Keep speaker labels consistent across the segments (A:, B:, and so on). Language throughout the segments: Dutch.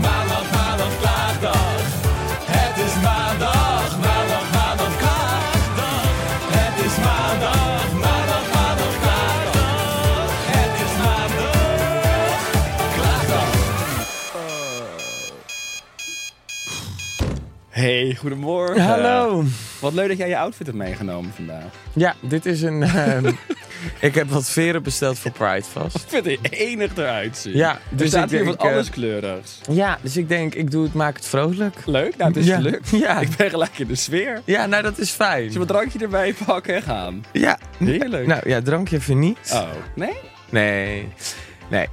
A: maandag, maandag, klaagdag. Het is maandag, maandag, maandag, klaagdag. Het is maandag, maandag, maandag, klaagdag. Het is maandag, klaagdag.
B: Hey, goedemorgen.
C: Hallo.
B: Wat leuk dat jij je outfit hebt meegenomen vandaag.
C: Eh, Ja, dit is een. ehm, ik heb wat veren besteld voor Pride vast.
B: Ik vind het enig eruit zien.
C: Ja,
B: er
C: dus
B: staat
C: ik
B: hier
C: denk,
B: wat
C: eh,
B: alles kleurigs.
C: Ja, dus ik denk, ik doe het, maak het vrolijk.
B: Leuk, nou het is
C: Ja.
B: gelukt.
C: Ja.
B: Ik ben gelijk in de sfeer.
C: Ja, nou dat is fijn.
B: Zullen we een drankje erbij pakken en gaan?
C: Ja,
B: Heerlijk.
C: Nou ja, drankje even niet.
B: Oh, nee?
C: Nee, nee.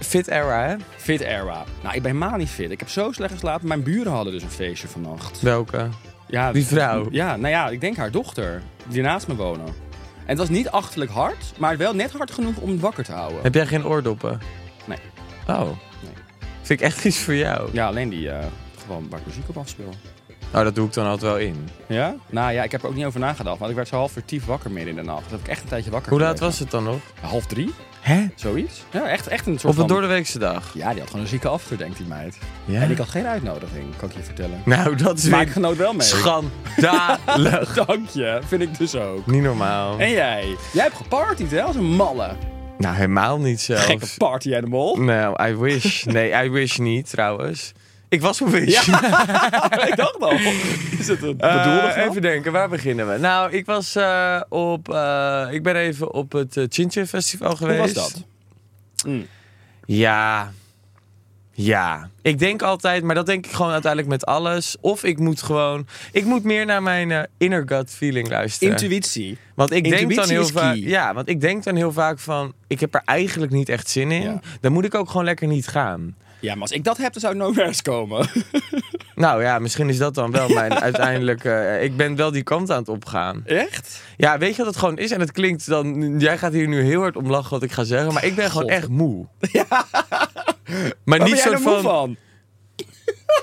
C: Fit era, hè?
B: Fit era. Nou, ik ben helemaal niet fit. Ik heb zo slecht geslapen. Mijn buren hadden dus een feestje vannacht.
C: Welke?
B: Ja,
C: Die vrouw.
B: Ja, nou ja, ik denk haar dochter. Die naast me wonen. En het was niet achterlijk hard, maar wel net hard genoeg om het wakker te houden.
C: Heb jij geen oordoppen?
B: Nee.
C: Oh. Vind ik echt iets voor jou.
B: Ja, alleen die eh, gewoon waar ik muziek op afspeel.
C: Oh, dat doe ik dan altijd wel in.
B: Ja? Nou ja, ik heb er ook niet over nagedacht, want ik werd zo half vertief wakker midden in de nacht. Dat heb ik echt een tijdje wakker
C: Hoe laat
B: gelegen.
C: was het dan nog?
B: Half drie,
C: Hè?
B: zoiets. Ja, echt, echt een soort
C: Op een
B: van...
C: doordeweekse dag.
B: Ja, die had gewoon een zieke after, denkt die meid.
C: Ja?
B: En ik had geen uitnodiging, kan ik je vertellen.
C: Nou, dat is
B: Maar ik
C: weer
B: genoot wel mee.
C: schandalig.
B: Dank je, vind ik dus ook.
C: Niet normaal.
B: En jij? Jij hebt gepartied, hè? Als een malle.
C: Nou, helemaal niet zelfs.
B: Gekke party animal.
C: Nou, I wish. Nee, I wish niet trouwens. Ik was op wish.
B: ik dacht al. Is het een
C: Eh,
B: bedoelde grap?
C: even denken, waar beginnen we? Nou, ik was eh, op. eh, ik ben even op het eh, Chinche Festival
B: Hoe
C: geweest.
B: was dat? Mm.
C: Ja. Ja. Ik denk altijd, maar dat denk ik gewoon uiteindelijk met alles. Of ik moet gewoon. Ik moet meer naar mijn eh, inner gut feeling luisteren.
B: Intuïtie.
C: Want ik denk dan
B: Intuïtie
C: heel
B: is
C: vaak.
B: key.
C: Ja, want ik denk dan heel vaak van. Ik heb er eigenlijk niet echt zin in.
B: Ja.
C: Dan moet ik ook gewoon lekker niet gaan.
B: Ja, maar als ik dat heb, dan zou ik nooit ergens komen.
C: Nou ja, misschien is dat dan wel mijn uiteindelijke. eh, ik ben wel die kant aan het opgaan.
B: Echt?
C: Ja, weet je wat het gewoon is? En het klinkt dan. Jij gaat hier nu heel hard om lachen wat ik ga zeggen. Maar ik ben gewoon
B: God.
C: echt moe. Maar,
B: Waar
C: niet
B: ben jij
C: soort
B: er moe
C: van,
B: van?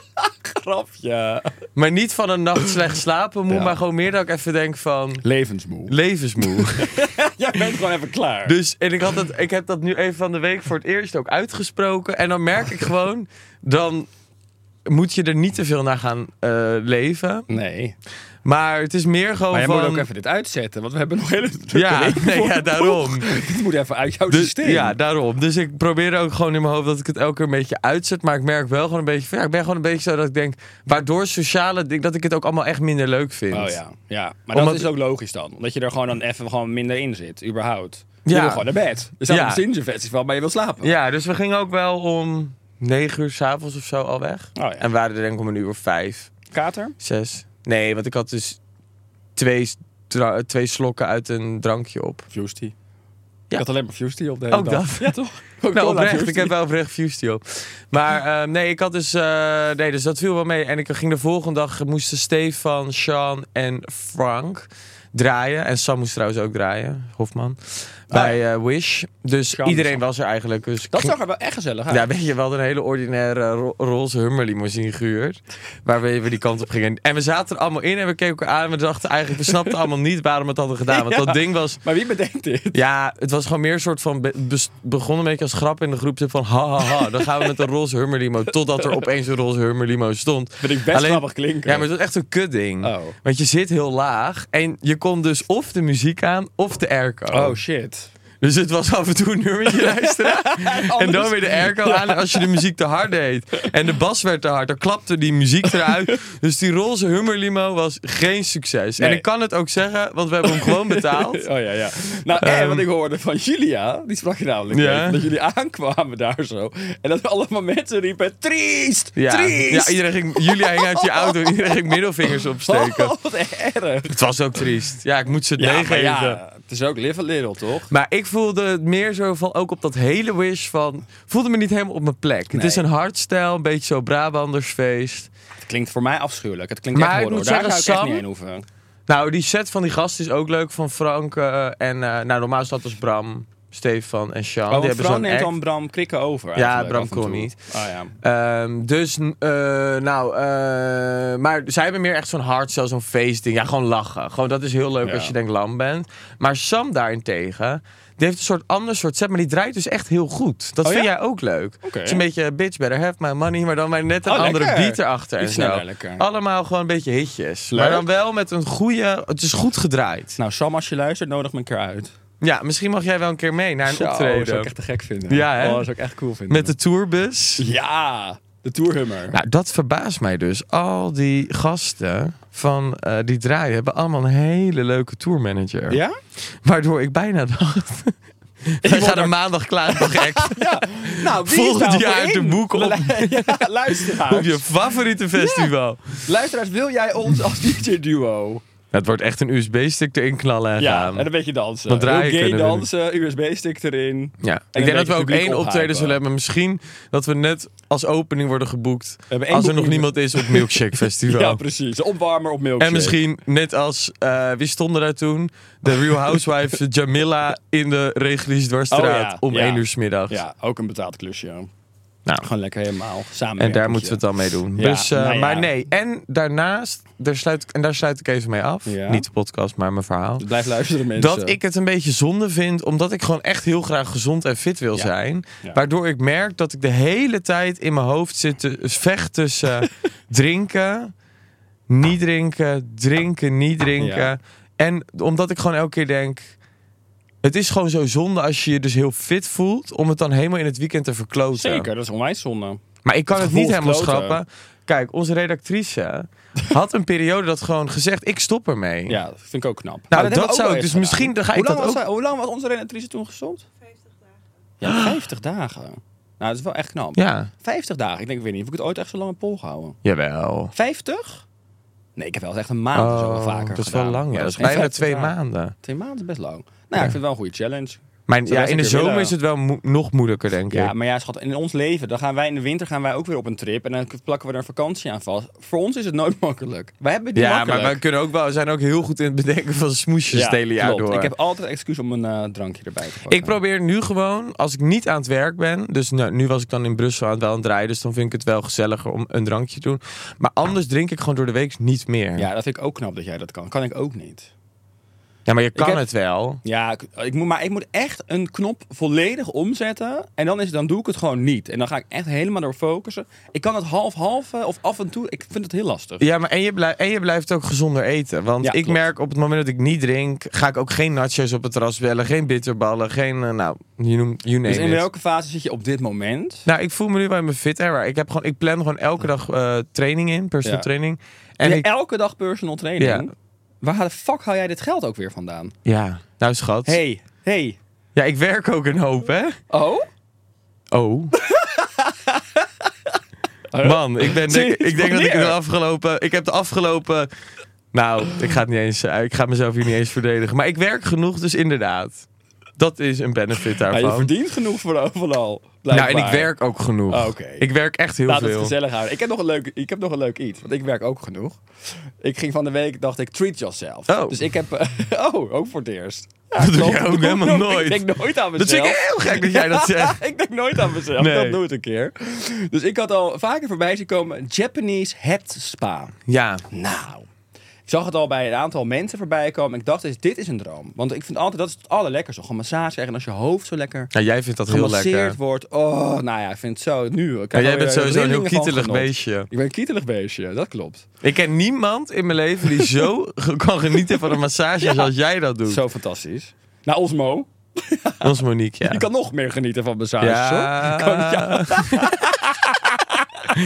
B: Grapje.
C: maar niet van een nacht slecht slapen moe.
B: Ja.
C: Maar gewoon meer dat ik even denk van.
B: Levensmoe.
C: Levensmoe.
B: Jij bent gewoon even klaar.
C: dus en ik, had dat, ik heb dat nu even van de week voor het eerst ook uitgesproken. En dan merk ik gewoon. Dan moet je er niet te veel naar gaan eh, leven.
B: nee.
C: Maar het is meer gewoon.
B: Maar jij
C: van,
B: moet ook even dit uitzetten, want we hebben nog hele drukke
C: Ja,
B: weken
C: nee,
B: voor
C: ja,
B: de
C: daarom.
B: boeg. Dit moet even uit jouw
C: Dus-
B: systeem.
C: ja, daarom. Dus ik probeer ook gewoon in mijn hoofd dat ik het elke keer een beetje uitzet. Maar ik merk wel gewoon een beetje van, ja, ik ben gewoon een beetje zo dat ik denk, waardoor sociale dingen, dat ik het ook allemaal echt minder leuk vind.
B: Oh ja, ja. maar dat
C: Omdat-
B: is ook logisch dan. Omdat je er gewoon dan even gewoon minder in zit, überhaupt. Je
C: Ja.
B: wil gewoon naar bed. Er staat
C: Ja.
B: op een Festival, maar je wil slapen.
C: Ja, dus we gingen ook wel om negen uur s'avonds of zo al weg.
B: Oh ja.
C: En waren er denk ik om een uur of vijf,
B: Kater?
C: zes. Nee, want ik had dus twee, dra- twee slokken uit een drankje op.
B: Fusty. Ik
C: Ja.
B: had alleen maar Fusty op de hele
C: Ook
B: dag.
C: dat.
B: Ja, toch? Ook
C: Nou,
B: cola
C: oprecht.
B: Fusty.
C: Ik heb wel oprecht Fusty op. Maar ehm, nee, ik had dus... eh, nee, dus dat viel wel mee. En ik ging de volgende dag... moesten Stefan, Sean en Frank draaien. En Sam moest trouwens ook draaien. Hofman. Bij eh, Wish. Dus
B: Sean,
C: iedereen
B: Sam.
C: was er eigenlijk. Dus ik
B: Dat
C: ging-
B: zag er wel echt gezellig uit.
C: ja, weet je, we hadden een hele ordinaire ro- roze hummerlimousine gehuurd. Waar we even die kant op gingen. En we zaten er allemaal in en we keken elkaar aan. En we dachten eigenlijk, we snapten allemaal niet waarom we het hadden gedaan. Want dat ding was...
B: Maar wie bedenkt dit?
C: Ja, het was gewoon meer een soort van. be- bes- begon een beetje als als grap in de groep zit van ha ha ha, dan gaan we met een roze hummerlimo. Totdat er opeens een roze hummerlimo stond.
B: Vind ik best grappig klinken.
C: Ja, maar het was echt een kutding.
B: Oh.
C: Want je zit heel laag en je kon dus of de muziek aan of de airco.
B: Oh shit.
C: Dus het was af en toe een nummertje luisteren. en dan weer de airco aan als je de muziek te hard deed. En de bas werd te hard, dan klapte die muziek eruit. Dus die roze hummerlimo was geen succes. En
B: Nee.
C: ik kan het ook zeggen, want we hebben hem gewoon betaald.
B: Oh ja, ja. Nou, en wat ik hoorde van Julia, die sprak je namelijk
C: Ehm. Ja.
B: even, dat jullie aankwamen daar zo. En dat allemaal mensen riepen, triest,
C: Ja, ja
B: triest.
C: iedereen ging, Julia ging uit je auto, iedereen ging middelvingers opsteken.
B: Oh, wat erg.
C: Het was ook triest. Ja, ik moet ze het
B: Ja, maar
C: meegeven.
B: ja, het is ook live a little, toch?
C: Maar ik voelde het meer zo van, ook op dat hele wish van... voelde me niet helemaal op mijn plek. Het
B: Nee.
C: is een hardstyle, een beetje zo Brabandersfeest.
B: Het klinkt voor mij afschuwelijk. Het klinkt
C: Maar
B: echt
C: ik
B: horror.
C: moet
B: Daar
C: zeggen,
B: zou ik echt
C: Sam-
B: niet heen hoeven.
C: Nou, die set van die gast is ook leuk van Frank. eh, en eh, nou, normaal is dat dus Bram, Stefan en Sean.
B: Oh,
C: die
B: want
C: hebben
B: Fran
C: zo'n
B: neemt
C: act.
B: dan Bram Krikken over eigenlijk,
C: Bram
B: af en
C: kon
B: toe.
C: niet.
B: Oh ja.
C: Ehm, dus, eh, nou, eh, maar zij hebben meer echt zo'n hardstyle, zo'n feestding. Ja, gewoon lachen. Gewoon, dat is heel leuk
B: Ja.
C: als je denkt lam bent. Maar Sam daarentegen, die heeft een soort ander soort set, maar die draait dus echt heel goed. Dat
B: Oh
C: vind
B: ja?
C: jij ook leuk.
B: Oké.
C: Het is een beetje bitch better have my money, maar dan maar net een
B: Oh,
C: andere
B: lekker.
C: beat erachter.
B: Iets
C: en zo.
B: sneller, lekker.
C: Allemaal gewoon een beetje hitjes. Maar
B: Leuk.
C: dan wel met een goede, het is goed gedraaid.
B: Nou, Sam, als je luistert, nodig me een keer uit.
C: Ja, misschien mag jij wel een keer mee naar een
B: Zo,
C: optreden.
B: Dat zou ik echt te gek vinden.
C: Ja, hè?
B: Oh, dat zou ik echt cool vinden.
C: Met de tourbus.
B: Ja, de tourhummer.
C: Nou, dat verbaast mij dus. Al die gasten van eh, die draaien hebben allemaal een hele leuke tourmanager.
B: Ja?
C: Waardoor ik bijna dacht... Wij gaan er maandag klaar voor gek.
B: Nou, wie
C: Volgend
B: is daarvoor
C: jaar
B: in?
C: te boeken op-
B: ja, luisteraars.
C: Op je favoriete festival.
B: Luisteraars, wil jij ons als DJ-duo?
C: Het wordt echt een USB-stick erin knallen en
B: Ja,
C: gaan.
B: en een beetje dansen.
C: Want draaien
B: Heel gay
C: kunnen we
B: dansen, USB-stick erin.
C: Ja.
B: een
C: Ik denk dat we
B: beetje
C: ook
B: publiek
C: één optreden
B: ophypen.
C: zullen hebben. Misschien dat we net als opening worden geboekt.
B: hebben één
C: Als er nog
B: boeking.
C: niemand is op Milkshake Festival.
B: Ja, precies. Een Opwarmer op milkshake.
C: En misschien net als, eh, wie stonden daar toen? De Real Housewives Jamila in de Reguliesdwarsstraat
B: Oh ja,
C: om
B: ja.
C: 1 uur smiddags.
B: Ja, ook een betaald klusje.
C: Nou.
B: Gewoon lekker helemaal samen.
C: En daar moeten we het dan mee doen.
B: Ja,
C: dus, eh,
B: nou ja.
C: Maar nee, en daarnaast, daar sluit, ik- en daar sluit ik even mee af.
B: Ja.
C: Niet de podcast, maar mijn verhaal.
B: Dus Blijf luisteren mensen.
C: Dat ik het een beetje zonde vind, omdat ik gewoon echt heel graag gezond en fit wil
B: Ja.
C: zijn.
B: Ja.
C: Waardoor ik merk dat ik de hele tijd in mijn hoofd zit te vecht tussen drinken, niet drinken, drinken, niet drinken.
B: Ja.
C: En omdat ik gewoon elke keer denk. Het is gewoon zo zonde als je je dus heel fit voelt om het dan helemaal in het weekend te verkloten.
B: Zeker, dat is onwijs zonde.
C: Maar ik kan
B: Het
C: het niet
B: gevoel
C: helemaal
B: is kloten.
C: schrappen. Kijk, onze redactrice had een periode dat gewoon gezegd: ik stop ermee.
B: Ja, dat vind ik ook knap. Maar
C: Nou,
B: hebben
C: dat
B: we ook
C: zou
B: wel
C: ik
B: eens
C: dus misschien- dan ga ik
B: hoe, lang
C: dat
B: was
C: ook-
B: zij- hoe lang was onze redactrice toen gestopt? 50 dagen. Ja, 50 dagen. Nou, dat is wel echt knap.
C: ja.
B: 50 dagen. Ik denk, ik weet niet of ik het ooit echt zo lang heb volgehouden.
C: Jawel.
B: 50? Nee, ik heb wel eens echt een maand of zo Oh, wel vaker
C: Ah, Oh, dat is wel
B: gedaan.
C: lang,
B: Maar
C: ja. Dat is
B: geen
C: bijna
B: 50
C: twee
B: dagen.
C: maanden.
B: Twee maanden is best lang. Nou ja, ik vind het wel een goede challenge.
C: Maar ja,
B: best
C: in de
B: een keer
C: zomer
B: willen.
C: is het wel mo- nog moeilijker, denk
B: Ja,
C: ik.
B: maar ja, schat, in ons leven, dan gaan wij in de winter gaan wij ook weer op een trip en dan plakken we er een vakantie aan vast. Voor ons is het nooit makkelijk. Wij hebben die
C: Ja, maar
B: makkelijk.
C: wij kunnen ook wel, we zijn ook heel goed in het bedenken van smoesjes het hele jaar
B: klopt.
C: door.
B: Ik heb altijd een excuus om een eh, drankje erbij te pakken.
C: Ik probeer nu gewoon, als ik niet aan het werk ben. Dus nou, nu was ik dan in Brussel aan het, wel aan het draaien. Dus dan vind ik het wel gezelliger om een drankje te doen. Maar anders drink ik gewoon door de week niet meer. Ja,
B: Ja, dat vind ik ook knap dat jij dat kan. Kan ik ook niet.
C: maar je kan
B: heb-
C: het wel.
B: Ja, ik, ik moet, maar ik moet echt een knop volledig omzetten. En dan, is, dan doe ik het gewoon niet. En dan ga ik echt helemaal door focussen. Ik kan het half-half eh, of af en toe. Ik vind het heel lastig.
C: Ja, maar en je, blijft, en je blijft ook gezonder eten. Want
B: Ja,
C: ik
B: klopt.
C: merk op het moment dat ik niet drink, ga ik ook geen nachos op het terras bellen. Geen bitterballen, geen, eh, nou, you, noem- you name
B: dus in
C: it.
B: welke fase zit je op dit moment?
C: Nou, ik voel me nu bij mijn fit error. Ik, heb gewoon, ik plan gewoon elke dag eh, training in, personal
B: Ja.
C: training.
B: En
C: En ik,
B: elke dag personal training.
C: Ja.
B: Waar de fuck haal jij dit geld ook weer vandaan?
C: ja, nou schat.
B: Hey, hey.
C: Ja, ik werk ook een hoop, hè?
B: Oh?
C: Oh. Man, ik, ben denk, ik denk dat ik de
B: Wanneer?
C: afgelopen... Ik heb de afgelopen... Nou, ik ga, het niet eens, eh, ik ga mezelf hier niet eens verdedigen. Maar ik werk genoeg, dus inderdaad. Dat is een benefit
B: Nou,
C: daarvan.
B: je verdient genoeg voor overal.
C: nou, en ik
B: blijkbaar.
C: werk ook genoeg.
B: Oh, oké.
C: Ik werk echt heel
B: Laat het
C: veel.
B: gezellig houden. Ik heb, nog een leuk, ik heb nog een leuk iets, want ik werk ook genoeg. Ik ging van de week, dacht ik, treat yourself.
C: Oh.
B: Dus ik heb... eh, oh, ook voor het eerst. Ja,
C: Dat doe
B: klopt.
C: jij ook helemaal nooit.
B: Ik denk nooit aan
C: Dat vind
B: mezelf.
C: ik heel gek dat jij dat zegt.
B: ik denk nooit aan mezelf.
C: Nee.
B: Dat nooit een keer. Dus ik had al vaker voorbij zien komen Japanese head spa.
C: Ja,
B: Nou, Ik zag het al bij een aantal mensen voorbij komen. Ik dacht, is- dit is een droom. Want ik vind altijd, dat is het allerlekkerste. Gewoon massage krijgen en als je hoofd zo lekker
C: Ja, jij vindt dat heel lekker.
B: gemasseerd wordt. Oh, nou ja, ik vind het zo nu. Ik
C: Ja,
B: heb
C: jij
B: er
C: bent
B: weer
C: sowieso een heel
B: rillingen van
C: kietelig
B: genot.
C: beestje.
B: Ik ben een kietelig beestje, dat klopt.
C: Ik ken niemand in mijn leven die zo ge- kan genieten van een massage zoals jij dat doet.
B: Zo fantastisch. Nou, Osmo,
C: Ons Monique, ja.
B: je kan nog meer genieten van massages,
C: Ja.
B: hoor. Kan- ja. Ons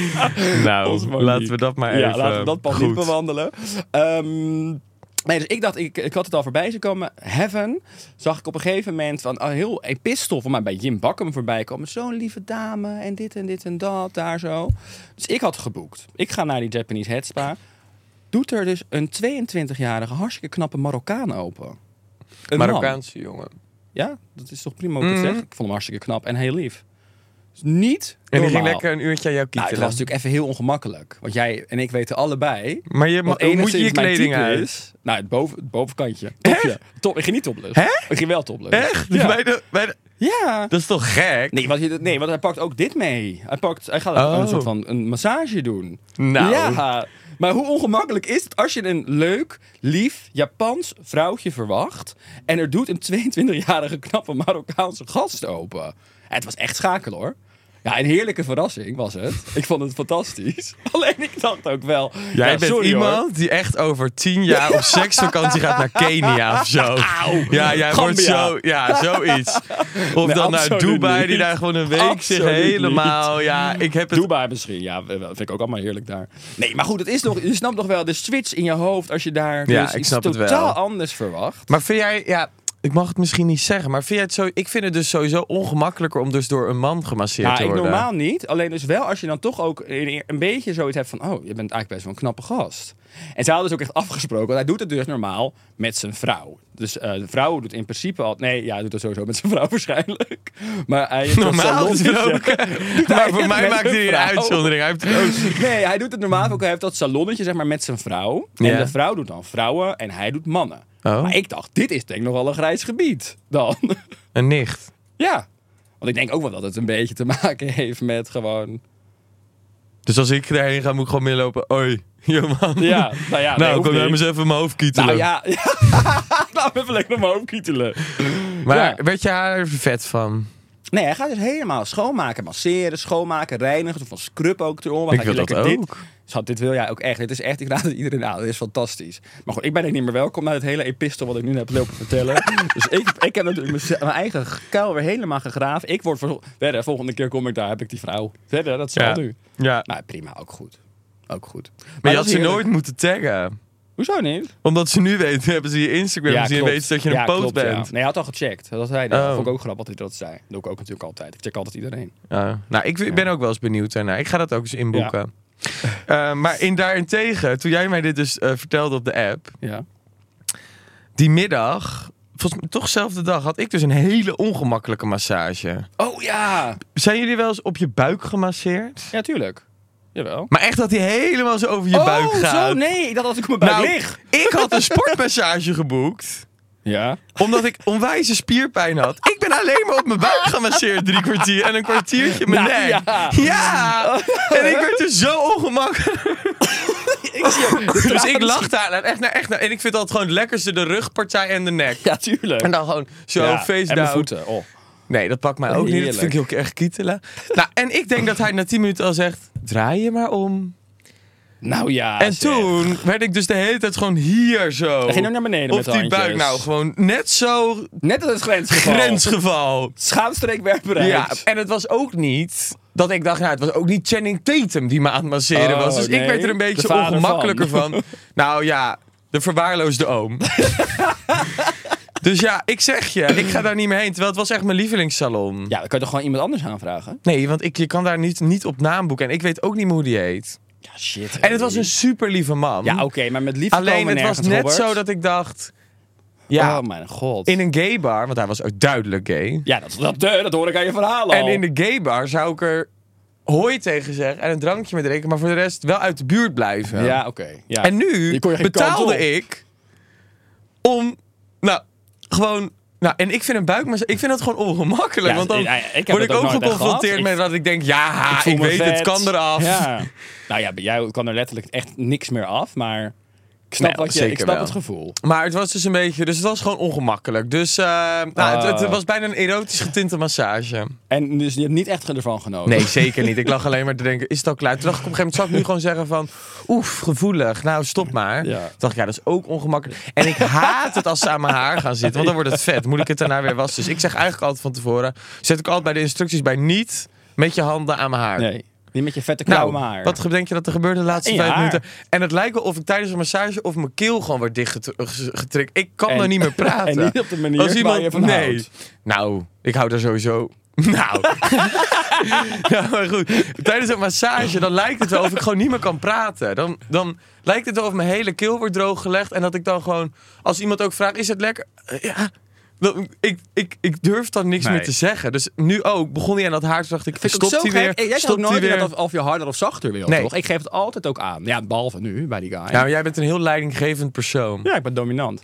C: nou,
B: Monique.
C: laten we dat maar even
B: Ja, laten we dat pad niet
C: goed.
B: bewandelen. Ehm, nee, dus ik dacht, ik, ik had het al voorbij zien komen. Heaven zag ik op een gegeven moment van een heel epistel van mij bij Jim Bakkum voorbij komen. Zo'n lieve dame en dit en dit en dat, daar zo. Dus ik had geboekt. Ik ga naar die Japanese head spa. Doet er dus een 22-jarige, hartstikke knappe Marokkaan open. Een man.
C: Marokkaanse jongen.
B: Ja, dat is toch prima om
C: Mm.
B: te zeggen. Ik vond hem hartstikke knap en heel lief. Dus niet
C: En die ging
B: normaal.
C: lekker een uurtje aan
B: Nou,
C: jou
B: het
C: kietelen.
B: was natuurlijk even heel ongemakkelijk. Want jij en ik weten allebei.
C: maar je,
B: wat
C: ma- hoe moet je
B: enigszins
C: je
B: mijn
C: kleding
B: type
C: uit?
B: Is, nou, het, boven, het bovenkantje. Topje. Top, ik ging niet topless.
C: Hè?
B: Ik ging wel topless.
C: Echt? Dus
B: Ja.
C: bij de, bij de-
B: Ja.
C: dat is toch gek?
B: Nee want, je- nee, want hij pakt ook dit mee. Hij, pakt, hij gaat
C: Oh.
B: een soort van een massage doen.
C: Nou.
B: Ja. Maar hoe ongemakkelijk is het als je een leuk, lief Japans vrouwtje verwacht... en er doet een 22-jarige knappe Marokkaanse gast open? Ja, Het was echt schakel, hoor. Ja, een heerlijke verrassing was het. Ik vond het fantastisch. Alleen ik dacht ook wel...
C: Jij
B: ja,
C: bent
B: Nou, sorry,
C: iemand
B: hoor.
C: die echt over tien jaar op seksvakantie gaat naar Kenia of zo. Ja, jij wordt
B: Gambia.
C: zo, ja, zoiets. Of
B: Nee,
C: dan naar
B: absoluut
C: Dubai, die
B: niet.
C: daar gewoon een week zich
B: Absoluut
C: helemaal. Ja, ik heb het.
B: Dubai misschien. Ja, eh, vind ik ook allemaal heerlijk daar. Nee, maar goed, het is nog, je snapt nog wel de switch in je hoofd als je daar
C: Ja,
B: dus
C: ik
B: iets
C: snap het wel.
B: totaal anders verwacht.
C: Maar vind jij, ja, ik mag het misschien niet zeggen, maar vind jij het zo? Ik vind het dus sowieso ongemakkelijker om dus door een man gemasseerd
B: Ja,
C: te
B: ik
C: worden.
B: normaal niet. Alleen dus wel als je dan toch ook een, een beetje zoiets hebt van... oh, je bent eigenlijk best wel een knappe gast. En ze hadden dus ook echt afgesproken. Want hij doet het dus normaal met zijn vrouw. Dus eh, de vrouw doet in principe al... Nee, ja, hij doet dat sowieso met zijn vrouw waarschijnlijk. Maar hij heeft een
C: Normaal
B: salon-
C: gesproken.
B: hij
C: Maar voor
B: het
C: mij
B: met
C: maakt
B: zijn
C: hij een
B: vrouw.
C: uitzondering. Hij heeft het ook.
B: Nee, hij doet het normaal ook. Hij heeft dat salonnetje zeg maar, met zijn vrouw. En
C: Ja.
B: de vrouw doet dan vrouwen en hij doet mannen.
C: Oh.
B: Maar ik dacht, dit is denk ik nogal een grijs gebied dan.
C: Een nicht.
B: ja. Want ik denk ook wel dat het een beetje te maken heeft met gewoon...
C: Dus als ik daarheen ga, moet ik gewoon meelopen. Oi, yo man.
B: Ja, nou ja. nee,
C: nou,
B: hoeft
C: kom jij
B: niet.
C: maar eens even mijn hoofd
B: Nou
C: kietelen.
B: ja, ja. laten we even lekker om mijn hoofd kietelen.
C: Maar
B: Ja.
C: werd je haar vet van?
B: Nee, hij gaat dus helemaal schoonmaken, masseren, schoonmaken, reinigen. Zo van scrub ook erom. Dan
C: Ik
B: gaat hij
C: wil dat
B: lekker
C: ook.
B: Dit. Schat, dit wil jij ook echt. Dit is echt, ik raad het iedereen aan. Dit is fantastisch. Maar goed, ik ben er niet meer welkom na het hele epistel wat ik nu heb lopen vertellen. dus ik, ik heb natuurlijk mezelf- mijn eigen kuil weer helemaal gegraven. Ik word ver- verder, volgende keer kom ik daar, heb ik die vrouw. Verder, dat zal nu.
C: ja. Maar,
B: Maar prima, ook goed. Ook goed. Maar,
C: je
B: dat
C: had
B: is
C: ze
B: heerlijk.
C: nooit moeten taggen.
B: Hoezo niet?
C: Omdat ze nu weten, hebben ze je Instagram ja, gezien en
B: klopt.
C: weten ze dat je een
B: Ja,
C: poot
B: klopt, ja.
C: bent.
B: Nee, hij had al gecheckt. Dat zei hij. Dat
C: Oh.
B: vond ik ook grappig dat hij dat zei. Dat doe ik ook natuurlijk altijd. Ik check altijd iedereen.
C: Ja. Nou, ik ben ook wel eens benieuwd daarna. Ik ga dat ook eens inboeken. Eh, maar in daarentegen, toen jij mij dit dus eh, vertelde op de app,
B: Ja.
C: die middag, volgens mij toch zelfde dag, had ik dus een hele ongemakkelijke massage.
B: Oh ja!
C: Zijn jullie wel eens op je buik gemasseerd?
B: Ja, tuurlijk. Jawel.
C: Maar echt dat hij helemaal zo over je buik gaat.
B: Oh, zo? Nee, ik dacht dat ik op mijn buik
C: Nou,
B: lig.
C: ik had een sportmassage geboekt.
B: Ja.
C: Omdat ik onwijze spierpijn had. Ik ben alleen maar op mijn buik gemasseerd drie kwartier. En een kwartiertje mijn
B: Nou,
C: nek.
B: ja.
C: Ja. En ik werd er zo ongemakkelijk. dus ik lag daar en echt naar, echt naar. En ik vind dat gewoon het lekkerste de rugpartij en de nek.
B: Ja, tuurlijk.
C: En dan gewoon zo
B: ja,
C: face
B: en mijn
C: down.
B: voeten. Oh.
C: Nee, dat pakt mij ook niet. Dat
B: Heerlijk.
C: vind ik ook echt kietelen. nou, en ik denk dat hij na tien minuten al zegt... Draai je maar om.
B: Nou ja.
C: en
B: zeg.
C: toen werd ik dus de hele tijd gewoon hier zo.
B: Dan ging je ook naar beneden
C: Op
B: met de
C: die
B: handjes.
C: buik. Nou, gewoon net zo
B: Net als het grensgeval.
C: grensgeval.
B: Schaamstreek werd bereikt.
C: Ja, en het was ook niet dat ik dacht, nou, het was ook niet Channing Tatum die me aan het masseren
B: Oh,
C: was. Dus ik
B: nee,
C: werd er een
B: de
C: beetje
B: vader
C: ongemakkelijker van. Nou ja, de verwaarloosde oom. dus ja, ik zeg je, ik ga daar niet meer heen. Terwijl het was echt mijn lievelingssalon.
B: Ja, dan kan je toch gewoon iemand anders aanvragen?
C: Nee, want ik, je kan daar niet, niet op naam boeken. En ik weet ook niet meer hoe die heet.
B: Ja, shit.
C: En het was een super lieve man.
B: Ja, oké, maar met liefde
C: Alleen
B: komen
C: het was
B: nergens,
C: net
B: Robert.
C: zo dat ik dacht... Ja,
B: Oh mijn god.
C: in een gay bar, want hij was ook duidelijk gay.
B: Ja, dat, dat, dat hoor ik aan je verhaal al.
C: En in de gaybar zou ik er hooi tegen zeggen en een drankje mee drinken, maar voor de rest wel uit de buurt blijven.
B: Ja, oké. ja.
C: En nu
B: Je kon je geen kant op.
C: betaalde ik om, nou, gewoon. Nou, en ik vind een buikmassage, ik vind dat gewoon ongemakkelijk.
B: Ja,
C: want dan
B: ik- ik heb
C: word
B: dat
C: ik
B: ook
C: ook
B: nooit echt
C: geconfronteerd
B: gehad.
C: met
B: Ik-
C: dat ik denk,
B: Ah,
C: ja, ik,
B: voel me
C: weet het,
B: vet.
C: kan eraf.
B: Ja. nou ja, bij jou kan er letterlijk echt niks meer af, maar... Ik snap,
C: Nee,
B: wat je,
C: zeker
B: ik snap
C: wel.
B: het gevoel.
C: Maar het was dus een beetje, dus het was gewoon ongemakkelijk. Dus eh, nou,
B: Ah.
C: het, het was bijna een erotisch getinte massage.
B: En dus je hebt niet echt ervan genoten.
C: Nee, zeker niet. Ik lag alleen maar te denken, is het al klaar? Toen dacht ik op een gegeven moment, zou ik nu gewoon zeggen van... Oef, gevoelig. Nou, stop maar.
B: Ja.
C: Toen dacht ik, ja, dat is ook ongemakkelijk. En ik haat het als ze aan mijn haar gaan zitten. Want dan wordt het vet. Moet ik het daarna weer wassen? Dus ik zeg eigenlijk altijd van tevoren... Zet ik altijd bij de instructies bij niet met je handen aan mijn haar.
B: Nee. Niet met je vette
C: Nou,
B: klauwen maar.
C: wat denk je dat er gebeurde de laatste
B: In je
C: vijf
B: haar.
C: minuten? En het lijkt wel of ik tijdens een massage of mijn keel gewoon werd dichtgetrekt. Ik kan
B: En-
C: nou niet meer praten.
B: en niet op de manier waar je van
C: nee.
B: houdt.
C: Nou, ik hou daar sowieso... Nou. ja, maar goed. Tijdens een massage, dan lijkt het wel of ik gewoon niet meer kan praten. Dan, dan lijkt het wel of mijn hele keel wordt drooggelegd. En dat ik dan gewoon... Als iemand ook vraagt, is het lekker? Eh, ja. Dan- Ik, ik, ik durf dan niks
B: Nee.
C: meer te zeggen. Dus nu ook begon hij aan dat haar. Toen dacht ik,
B: Vind ik ook
C: stopt
B: zo
C: hij
B: gek. Eh,
C: weer?
B: Jij zegt ook
C: stopt hij
B: nooit
C: weer?
B: dat of, of je harder of zachter wil,
C: Nee.
B: toch? Ik geef het altijd ook aan. Ja, behalve nu, bij die guy.
C: Ja, maar jij bent een heel leidinggevend persoon.
B: Nou, Ja, ik ben dominant.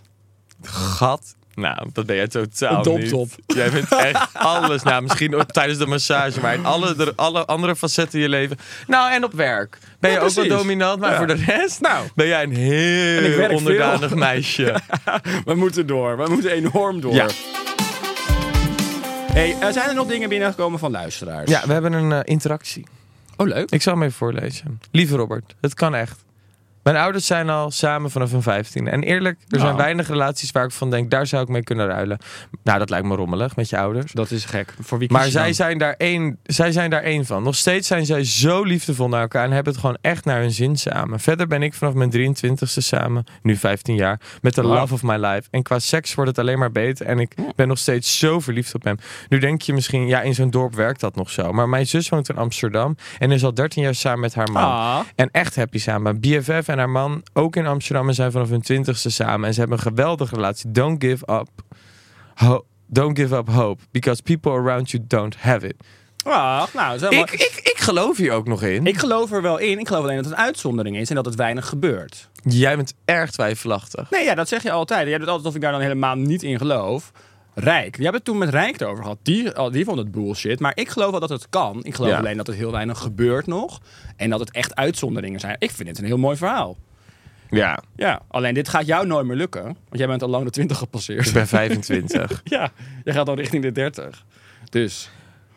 C: Gat. Nou, dat ben jij totaal
B: Een domtop.
C: niet. Jij bent echt alles. Nou, misschien ook tijdens de massage, maar in alle, de- alle andere facetten in je leven. Nou, en op werk. Ben
B: Ja,
C: je ook wel
B: precies.
C: dominant, maar
B: Ja.
C: voor de rest
B: Nou.
C: ben jij een
B: En ik werk
C: heel
B: veel.
C: onderdanig meisje.
B: We moeten door. We moeten enorm door.
C: Ja.
B: Hey, eh, zijn er nog dingen binnengekomen van luisteraars?
C: ja, we hebben een eh, interactie.
B: Oh, leuk.
C: Ik zal hem even voorlezen. Lieve Robert, het kan echt. Mijn ouders zijn al samen vanaf hun 15. En eerlijk, er
B: Nou.
C: zijn weinig relaties waar ik van denk, daar zou ik mee kunnen ruilen. Nou, dat lijkt me rommelig met je ouders.
B: Dat is gek. Voor wie
C: Maar zij zijn, daar één, zij zijn daar één van. Nog steeds zijn zij zo liefdevol naar elkaar en hebben het gewoon echt naar hun zin samen. Verder ben ik vanaf mijn 23ste samen, nu 15 jaar, met de
B: Wauw.
C: love of my life. En qua seks wordt het alleen maar beter en ik ben nog steeds zo verliefd op hem. Nu denk je misschien, ja, in zo'n dorp werkt dat nog zo. Maar mijn zus woont in Amsterdam en is al 13 jaar samen met haar man.
B: Ah.
C: En echt happy samen. BFF en haar man, ook in Amsterdam, en zijn vanaf hun 20ste samen. En ze hebben een geweldige relatie. Don't give up. Ho- don't give up hope, because people around you don't have it.
B: Ach, nou, dat is helemaal-
C: Ik, ik, ik geloof hier ook nog in.
B: Ik geloof er wel in. Ik geloof alleen dat het een uitzondering is en dat het weinig gebeurt.
C: Jij bent erg twijfelachtig.
B: Nee, ja, dat zeg je altijd. Jij doet altijd alsof ik daar dan helemaal niet in geloof. Rijk. Jij hebt het toen met Rijk erover gehad. Die, oh, die vond het bullshit. Maar ik geloof wel dat het kan. Ik geloof
C: Ja.
B: alleen dat het heel weinig gebeurt nog. En dat het echt uitzonderingen zijn. Ik vind het een heel mooi verhaal.
C: Ja.
B: Ja, alleen dit gaat jou nooit meer lukken. Want jij bent al lang de 20 gepasseerd.
C: Ik ben 25.
B: Ja, je gaat al richting de 30. Dus,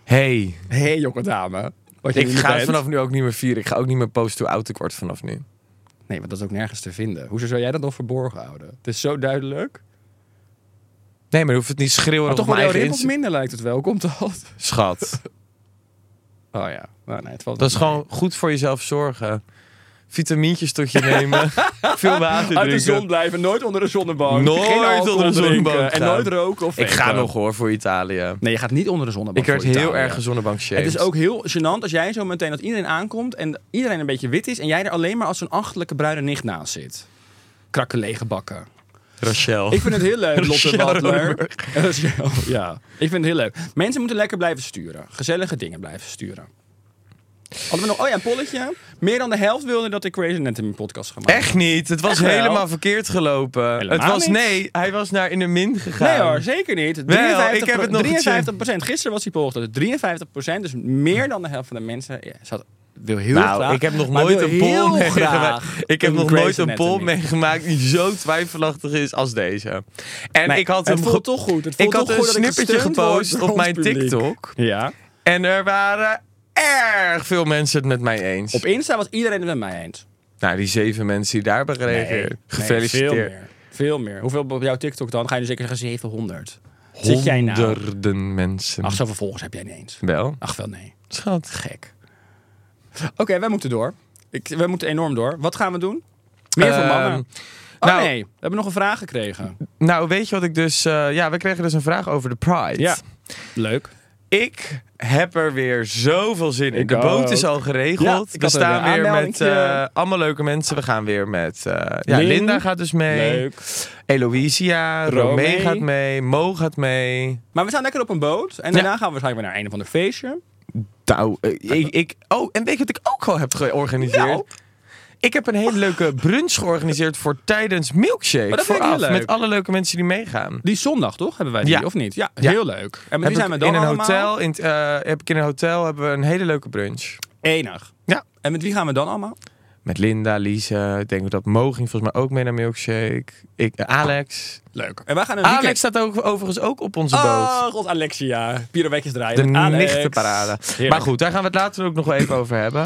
C: hey,
B: hé hey, jonge dame. Wat je
C: ik
B: nu
C: ga het
B: bent.
C: vanaf nu ook niet meer vieren. Ik ga ook niet meer post to auto kort vanaf nu.
B: Nee, want dat is ook nergens te vinden. Hoezo zou jij dat nog verborgen houden? Het is zo duidelijk.
C: Nee, maar je hoeft het niet schreeuwen
B: Maar toch
C: op
B: wel
C: mijn
B: jouw
C: eigen
B: rimpels
C: Insta-
B: minder lijkt het wel. Komt dat?
C: Schat,
B: Oh ja. Nou, nee, het valt
C: dat is gewoon goed voor jezelf zorgen. Vitamintjes tot je nemen. Veel water
B: Uit de zon
C: drinken.
B: blijven, nooit onder de zonnebank.
C: Nooit
B: Geen alcohol
C: onder de zonnebank
B: drinken En
C: gaan.
B: nooit roken of
C: Ik ga
B: vapen.
C: nog hoor, voor Italië.
B: Nee, je gaat niet onder de zonnebank.
C: Ik werd
B: voor
C: heel
B: Italië.
C: erg een zonnebank
B: Het is ook heel gênant als jij zo meteen dat iedereen aankomt en iedereen een beetje wit is en jij er alleen maar als een achterlijke bruine nicht naast zit. Krakken lege bakken.
C: Rachel.
B: Ik vind het heel leuk, Lotte
C: Rochelle
B: Butler. Rochelle, ja, ik vind het heel leuk. Mensen moeten lekker blijven sturen. Gezellige dingen blijven sturen. Hadden we nog, oh ja, een polletje. Meer dan de helft wilde dat ik Crazy Anatomy podcast ga maken.
C: Echt niet. Het was
B: wel?
C: helemaal verkeerd gelopen.
B: Helemaal
C: het was
B: niet.
C: nee, hij was naar in de min gegaan.
B: Nee hoor, zeker niet. 53%,
C: ik heb het nog
B: 53 Gisteren was die poll dat 53 Dus meer dan de helft van de mensen ja, zat, wil heel graag.
C: Nou, ik heb nog nooit een poll
B: pol
C: meegemaakt. Ik heb nog nooit een poll
B: pol
C: meegemaakt die zo twijfelachtig is als deze. En
B: Nee,
C: ik had
B: het
C: hem
B: voelt
C: ge-
B: toch goed. Het voelt
C: Ik had
B: toch
C: een
B: goed dat ik
C: snippertje
B: gesteund word
C: gepost
B: door
C: op
B: ons
C: mijn
B: publiek.
C: TikTok
B: Ja.
C: en er waren erg veel mensen het met mij eens.
B: Op Insta was iedereen het met mij eens.
C: Nou, die zeven mensen die daar hebben gereageerd.
B: veel
C: Gefeliciteerd.
B: meer. Veel meer. Hoeveel op jouw TikTok dan? Ga je nu zeker zeggen 700. Zit jij nou?
C: Honderden mensen.
B: Ach, Oh, zoveel volgers heb jij niet eens.
C: wel.
B: Ach, wel nee.
C: Schat.
B: Gek. Oké, wij moeten door. Ik, wij moeten enorm door. Wat gaan we doen? Meer voor
C: Ehm,
B: mannen. Oh
C: nou-
B: nee, we hebben nog een vraag gekregen.
C: Nou, weet je wat ik dus... eh, ja, we kregen dus een vraag over de Pride.
B: Ja. Leuk.
C: Ik heb er weer zoveel zin in.
B: Ik
C: de boot
B: ook.
C: is al
B: Ja,
C: geregeld.
B: ik
C: we
B: had
C: staan
B: een
C: weer met
B: aanmeldingje.
C: eh, allemaal leuke mensen. We gaan weer met... eh, ja,
B: Lin.
C: Linda gaat dus mee. Eloisia. Romee
B: Romee.
C: gaat mee. Mo gaat mee.
B: Maar we staan lekker op een boot. En daarna gaan we waarschijnlijk weer naar een of ander feestje.
C: Nou, eh, ik, ik- oh, en weet je wat ik ook al heb georganiseerd?
B: Nou.
C: Ik heb een hele leuke brunch georganiseerd voor tijdens Milkshake.
B: Oh, dat vind ik
C: vooraf,
B: heel leuk.
C: met alle leuke mensen die meegaan.
B: Die zondag toch? Hebben wij die,
C: Ja.
B: of niet? Ja,
C: Ja.
B: heel leuk. En met
C: Heb
B: wie zijn we
C: ik
B: dan
C: in een
B: allemaal?
C: hotel, in, het, eh, heb ik in een hotel hebben we een hele leuke brunch.
B: Enig.
C: Ja.
B: En met wie gaan we dan allemaal?
C: Met Linda, Lisa. Ik denk dat Mo ging volgens mij ook mee naar Milkshake. Ik, eh, Alex.
B: Leuk. En wij gaan een
C: Alex
B: weekend-
C: staat ook, overigens ook op onze boot.
B: Oh, god, Alexia. Pirouetjes draaien.
C: De
B: met Alex.
C: nichtenparade.
B: Heerlijk.
C: Maar goed, daar gaan we het later ook nog wel even over hebben.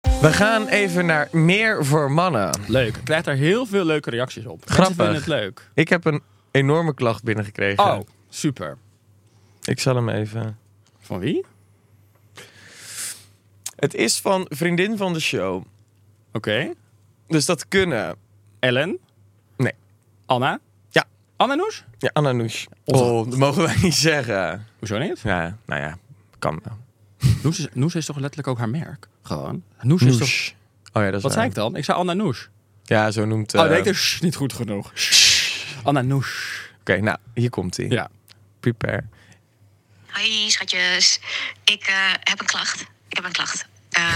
C: We gaan even naar meer voor mannen.
B: Leuk. Ik krijg daar heel veel leuke reacties op. Mensen
C: Grappig.
B: vinden het leuk.
C: Ik heb een enorme klacht binnengekregen.
B: Oh, super.
C: Ik zal hem even.
B: Van wie?
C: Het is van vriendin van de show.
B: Oké.
C: Dus dat kunnen.
B: Ellen?
C: Nee.
B: Anna?
C: Ja.
B: Anna Noes?
C: Ja, Ananoush. Oh, dat mogen wij niet zeggen.
B: Hoezo niet?
C: Ja, nou ja, kan wel.
B: Noes is, Noes is toch letterlijk ook haar merk? Gewoon. Noes, is toch...
C: Noes. Oh ja, dat
B: Wat
C: is waar.
B: zei ik dan? Ik zei Anna Noes.
C: Ja, zo noemt...
B: Oh,
C: eh,
B: nee, ik dus niet goed genoeg. Anna Noes.
C: Oké, nou, hier komt hij.
B: Ja.
C: Prepare.
D: Hoi schatjes, ik eh, heb een klacht. Ik heb een klacht. Ehm,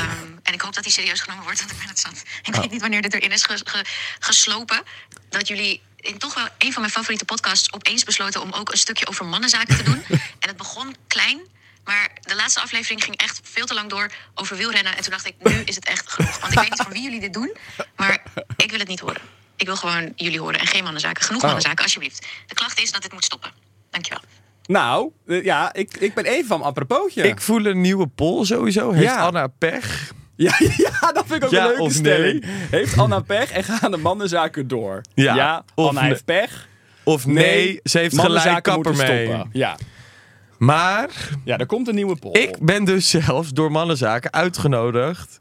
D: en ik hoop dat die serieus genomen wordt, want ik ben het zat. Ik weet niet wanneer dit erin is ge- ge- geslopen. Dat jullie in toch wel een van mijn favoriete podcasts opeens besloten om ook een stukje over mannenzaken te doen. en het begon klein, maar de laatste aflevering ging echt veel te lang door over wielrennen. En toen dacht ik, nu is het echt genoeg. Want ik weet niet voor wie jullie dit doen, maar ik wil het niet horen. Ik wil gewoon jullie horen en geen mannenzaken. Genoeg mannenzaken, alsjeblieft. De klacht is dat dit moet stoppen. Dankjewel.
B: Nou, eh, ja, ik, ik ben even van apropoosje.
C: Ik voel een nieuwe poll sowieso. Heeft
B: Ja.
C: Anna pech?
B: Ja, ja, dat vind ik ook
C: Ja
B: een leuke
C: of
B: stelling. Heeft Anna pech en gaan de mannenzaken door?
C: Ja, of
B: Anna
C: nee.
B: heeft pech.
C: Of nee, ze heeft gelijk
B: mannenzaken
C: kapper
B: moeten
C: mee.
B: stoppen. Ja.
C: Maar
B: ja, er komt een nieuwe poll.
C: ik ben dus zelfs door mannenzaken uitgenodigd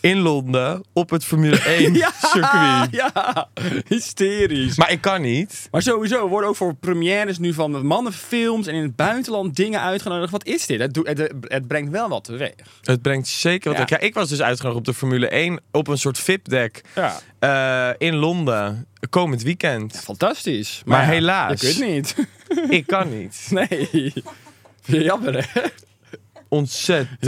C: in Londen op het Formule 1 circuit.
B: Ja, hysterisch.
C: Maar ik kan niet.
B: Maar sowieso, we worden ook voor premières nu van de mannenfilms en in het buitenland dingen uitgenodigd. Wat is dit? Het, doet- het, het brengt wel wat teweeg.
C: Het brengt zeker wat
B: Ja.
C: ik. Ja, ik was dus uitgenodigd op de Formule 1 op een soort VIP-deck eh,
B: Ja.
C: in Londen komend weekend.
B: Fantastisch.
C: Maar
B: ja,
C: helaas.
B: Je kunt niet.
C: ik kan niet.
B: Nee. Vind je Jammer, hè?
C: Ontzettend.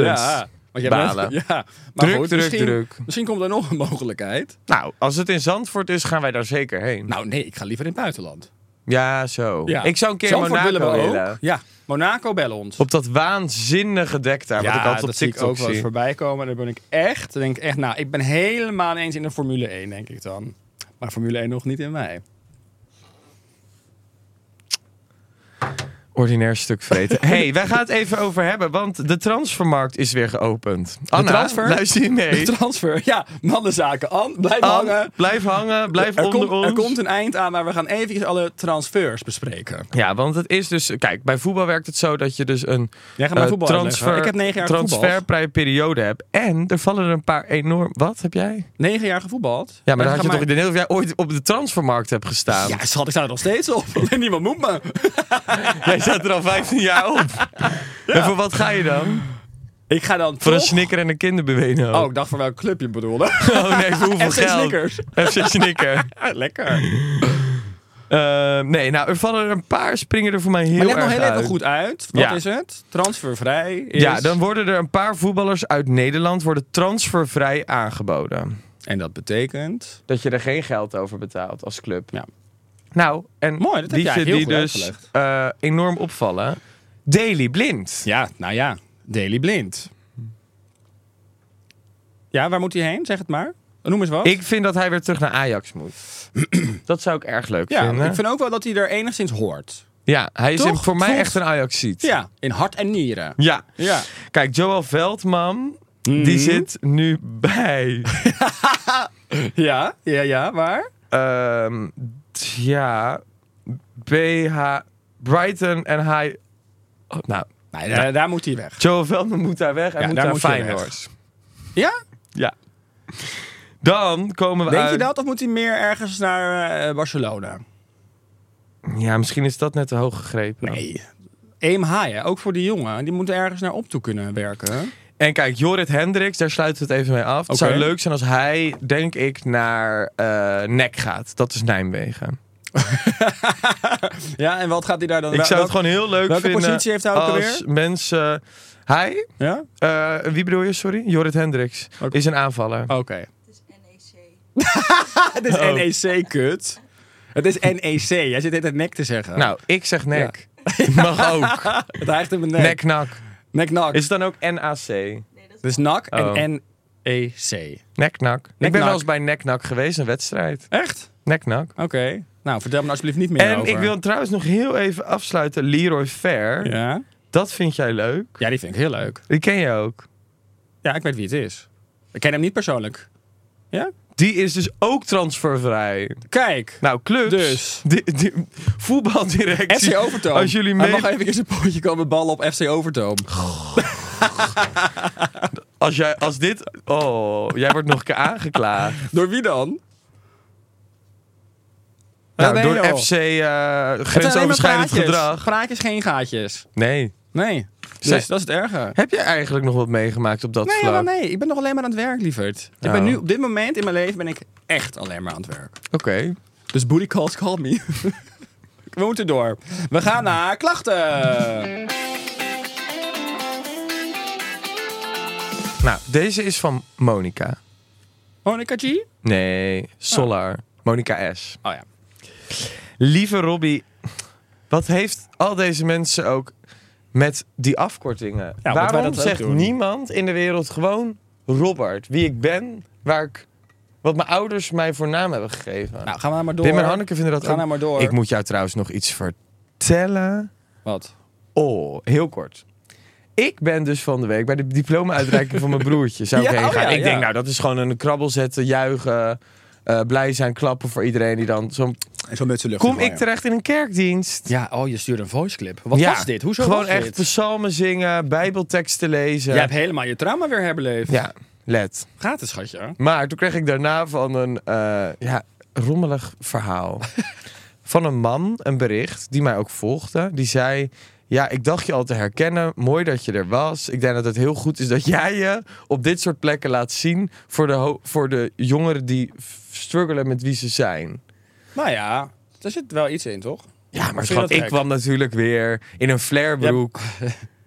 B: Want jij bent-
C: Balen.
B: ja. Maar
C: Druk,
B: goed,
C: druk,
B: misschien,
C: druk.
B: Misschien komt er nog een mogelijkheid.
C: Nou, als het in Zandvoort is, gaan wij daar zeker heen.
B: Nou, nee, ik ga liever in het buitenland.
C: Ja, zo.
B: Ja.
C: Ik zou een keer
B: Zandvoort
C: Monaco
B: willen we
C: willen.
B: ook. Ja, Monaco, bel ons.
C: Op dat waanzinnige dek daar, wat ik altijd op
B: dat zie ik
C: TikTok
B: ook wel eens
C: zie.
B: voorbij komen. Daar ben ik echt, dan denk ik echt, nou, ik ben helemaal eens in de Formule 1, denk ik dan. Maar Formule 1 nog niet in mij.
C: Ordinair stuk vreten. hey, wij gaan het even over hebben, want de transfermarkt is weer geopend. Anna,
B: transfer?
C: luister je mee?
B: De transfer, ja, mannenzaken. An, blijf
C: Ann,
B: hangen.
C: Blijf hangen, blijf
B: Er,
C: onder
B: komt-
C: ons.
B: er komt een eind aan, maar we gaan eventjes alle transfers bespreken.
C: Ja, want het is dus... Kijk, bij voetbal werkt het zo dat je dus een
B: Jij gaat mij
C: eh,
B: voetbal uitleggen.
C: transfer,
B: Ik heb negen jaar
C: transfervrije periode hebt. En er vallen er een paar enorm... Wat heb jij?
B: Negen jaar gevoetbald.
C: Ja, maar dan
B: dan
C: had je toch... Ik denk of jij ooit op de transfermarkt hebt gestaan.
B: Ja, schat, ik sta er nog steeds op. Niemand moet me.
C: Jij staat er al 15 jaar op. En voor wat ga je dan?
B: Ik ga dan
C: Voor een
B: toch-
C: snicker en een kinderbeweno.
B: Oh, ik dacht voor welk club je bedoelde.
C: Oh nee, voor hoeveel
B: FC
C: geld?
B: Snickers.
C: FC Snicker.
B: Lekker.
C: Eh, nee, nou, er vallen er een paar springen er voor mij heel
B: Maar leg nog
C: erg
B: heel
C: uit.
B: even goed uit. Wat
C: Ja.
B: is het? Transfervrij is...
C: Ja, dan worden er een paar voetballers uit Nederland worden transfervrij aangeboden.
B: En dat betekent...
C: Dat je er geen geld over betaalt als club.
B: Ja.
C: Nou, en
B: Mooi, dat heb
C: die,
B: jij heel
C: die
B: goed
C: dus
B: uitgelegd.
C: eh, enorm opvallen. Daily Blind.
B: Ja, nou ja. Daily Blind. Ja, waar moet hij heen? Zeg het maar. Noem eens wat.
C: Ik vind dat hij weer terug naar Ajax moet. dat zou ik erg leuk
B: ja,
C: vinden.
B: ik vind ook wel dat hij er enigszins hoort.
C: Ja, hij is
B: Toch?
C: een- voor mij
B: Klopt.
C: echt een Ajaxiet.
B: Ja, in hart en nieren.
C: Ja.
B: Ja.
C: Kijk, Joel Veldman, die zit nu bij...
B: Ja, ja, ja, waar?
C: ehm, t- ja, BH... Brighton en hij... oh, nou,
B: Nee, daar, daar moet hij weg.
C: Joel Veldman moet daar weg en
B: Ja,
C: moet
B: daar
C: naar
B: moet hij
C: Feyenoord.
B: Ja?
C: Ja. Eh, Dan komen we
B: Denk je
C: uit...
B: dat? Of moet hij meer ergens naar eh, Barcelona?
C: Ja, misschien is dat net te hoog gegrepen.
B: Nee. Eem haaien, ook voor die jongen. Die moeten ergens naar op toe kunnen werken.
C: En kijk, Jorrit Hendricks, daar sluiten we het even mee af. Het zou
B: Oké.
C: leuk zijn als hij, denk ik, naar eh Nek gaat. Dat is Nijmegen.
B: Ja, en wat gaat hij daar dan...
C: Ik
B: wel-
C: zou het
B: welk-
C: gewoon heel leuk
B: welke
C: vinden.
B: positie heeft hij ook
C: als mensen. Hij,
B: Ja?
C: eh, wie bedoel je, sorry? Jorrit Hendricks
B: Oké.
C: is een aanvaller.
B: Oké. Oh. Het is NEC, kut. Het is NEC. Jij zit net het nek te zeggen.
C: Nou, ik zeg Nek. Mag ook.
B: Het hijgt in mijn nek.
C: Nek, nak.
B: Nek, nak.
C: Is het dan ook NAC?
B: Dus nak
C: Oh.
B: en E NEC.
C: Nek, nak. Ik ben
B: nak.
C: wel eens bij Nek, nak geweest, een wedstrijd.
B: Echt?
C: Nek, nak.
B: Oké. Nou, vertel me alsjeblieft niet meer
C: En
B: over.
C: ik wil trouwens nog heel even afsluiten. Leroy Fair.
B: Ja?
C: Dat vind jij leuk.
B: ja, die vind ik heel leuk.
C: Die ken je ook.
B: Ja, ik weet wie het is. Ik ken hem niet persoonlijk. Ja?
C: Die is dus ook transfervrij.
B: Kijk.
C: Nou, clubs.
B: Dus.
C: Die, die, voetbaldirectie.
B: FC Overtoom.
C: Als jullie
B: Hij
C: mee,
B: mag even een potje komen ballen op FC Overtoom.
C: als, jij, als dit... Oh, jij wordt nog een keer aangeklaagd.
B: Door wie dan? Waar
C: Nou,
B: ben je
C: door
B: nou?
C: FC eh,
B: Het zijn alleen maar
C: grensoverschrijdend
B: praatjes.
C: gedrag.
B: Praatjes, geen gaatjes.
C: Nee.
B: Nee. Dus
C: Zeg.
B: dat is het erger.
C: Heb jij eigenlijk nog wat meegemaakt op dat
B: Nee,
C: vlak?
B: maar nee, ik ben nog alleen maar aan het werk, lieverd. Ik
C: Oh.
B: ben nu, op dit moment in mijn leven ben ik echt alleen maar aan het werk.
C: Oké.
B: Dus booty calls call me. We moeten door. We gaan naar klachten.
C: Nou, deze is van Monica.
B: Monica G?
C: Nee, Solar. Monica S.
B: Oh ja.
C: Lieve Robbie, wat heeft al deze mensen ook met die afkortingen?
B: wij
C: Waarom
B: dat ook
C: zegt
B: doen.
C: niemand in de wereld gewoon Robert, wie ik ben, waar ik, wat mijn ouders mij voor naam hebben gegeven?
B: Nou, gaan we maar door.
C: Wim en Hanneke vinden dat
B: Ga
C: ook-
B: nou maar door.
C: Ik moet jou trouwens nog iets vertellen.
B: Wat?
C: Oh, heel kort. Ik ben dus van de week bij de diploma-uitreiking van mijn broertje. Zou ik
B: Ja,
C: heen
B: oh
C: gaan?
B: ja,
C: ik
B: ja.
C: denk, nou, dat is gewoon een krabbel zetten, juichen, eh, blij zijn, klappen voor iedereen die dan zo'n...
B: En zo met z'n lucht.
C: Kom ik terecht in een kerkdienst?
B: Ja, oh, je stuurde een voiceclip. Wat
C: Ja,
B: was dit? Hoezo
C: Gewoon
B: was
C: echt
B: dit?
C: psalmen zingen, bijbelteksten lezen.
B: Jij hebt helemaal je trauma weer herbeleefd.
C: Ja, let.
B: Gaat het, schatje?
C: Maar toen kreeg ik daarna van een eh, ja, rommelig verhaal. van een man een bericht die mij ook volgde. Die zei... Ja, ik dacht je al te herkennen. Mooi dat je er was. Ik denk dat het heel goed is dat jij je op dit soort plekken laat zien... voor de, ho- voor de jongeren die f- struggelen met wie ze zijn.
B: Nou ja, daar zit wel iets in, toch?
C: Ja, maar
B: Vind je
C: schat,
B: dat
C: ik
B: gek?
C: kwam natuurlijk weer in een flarebroek.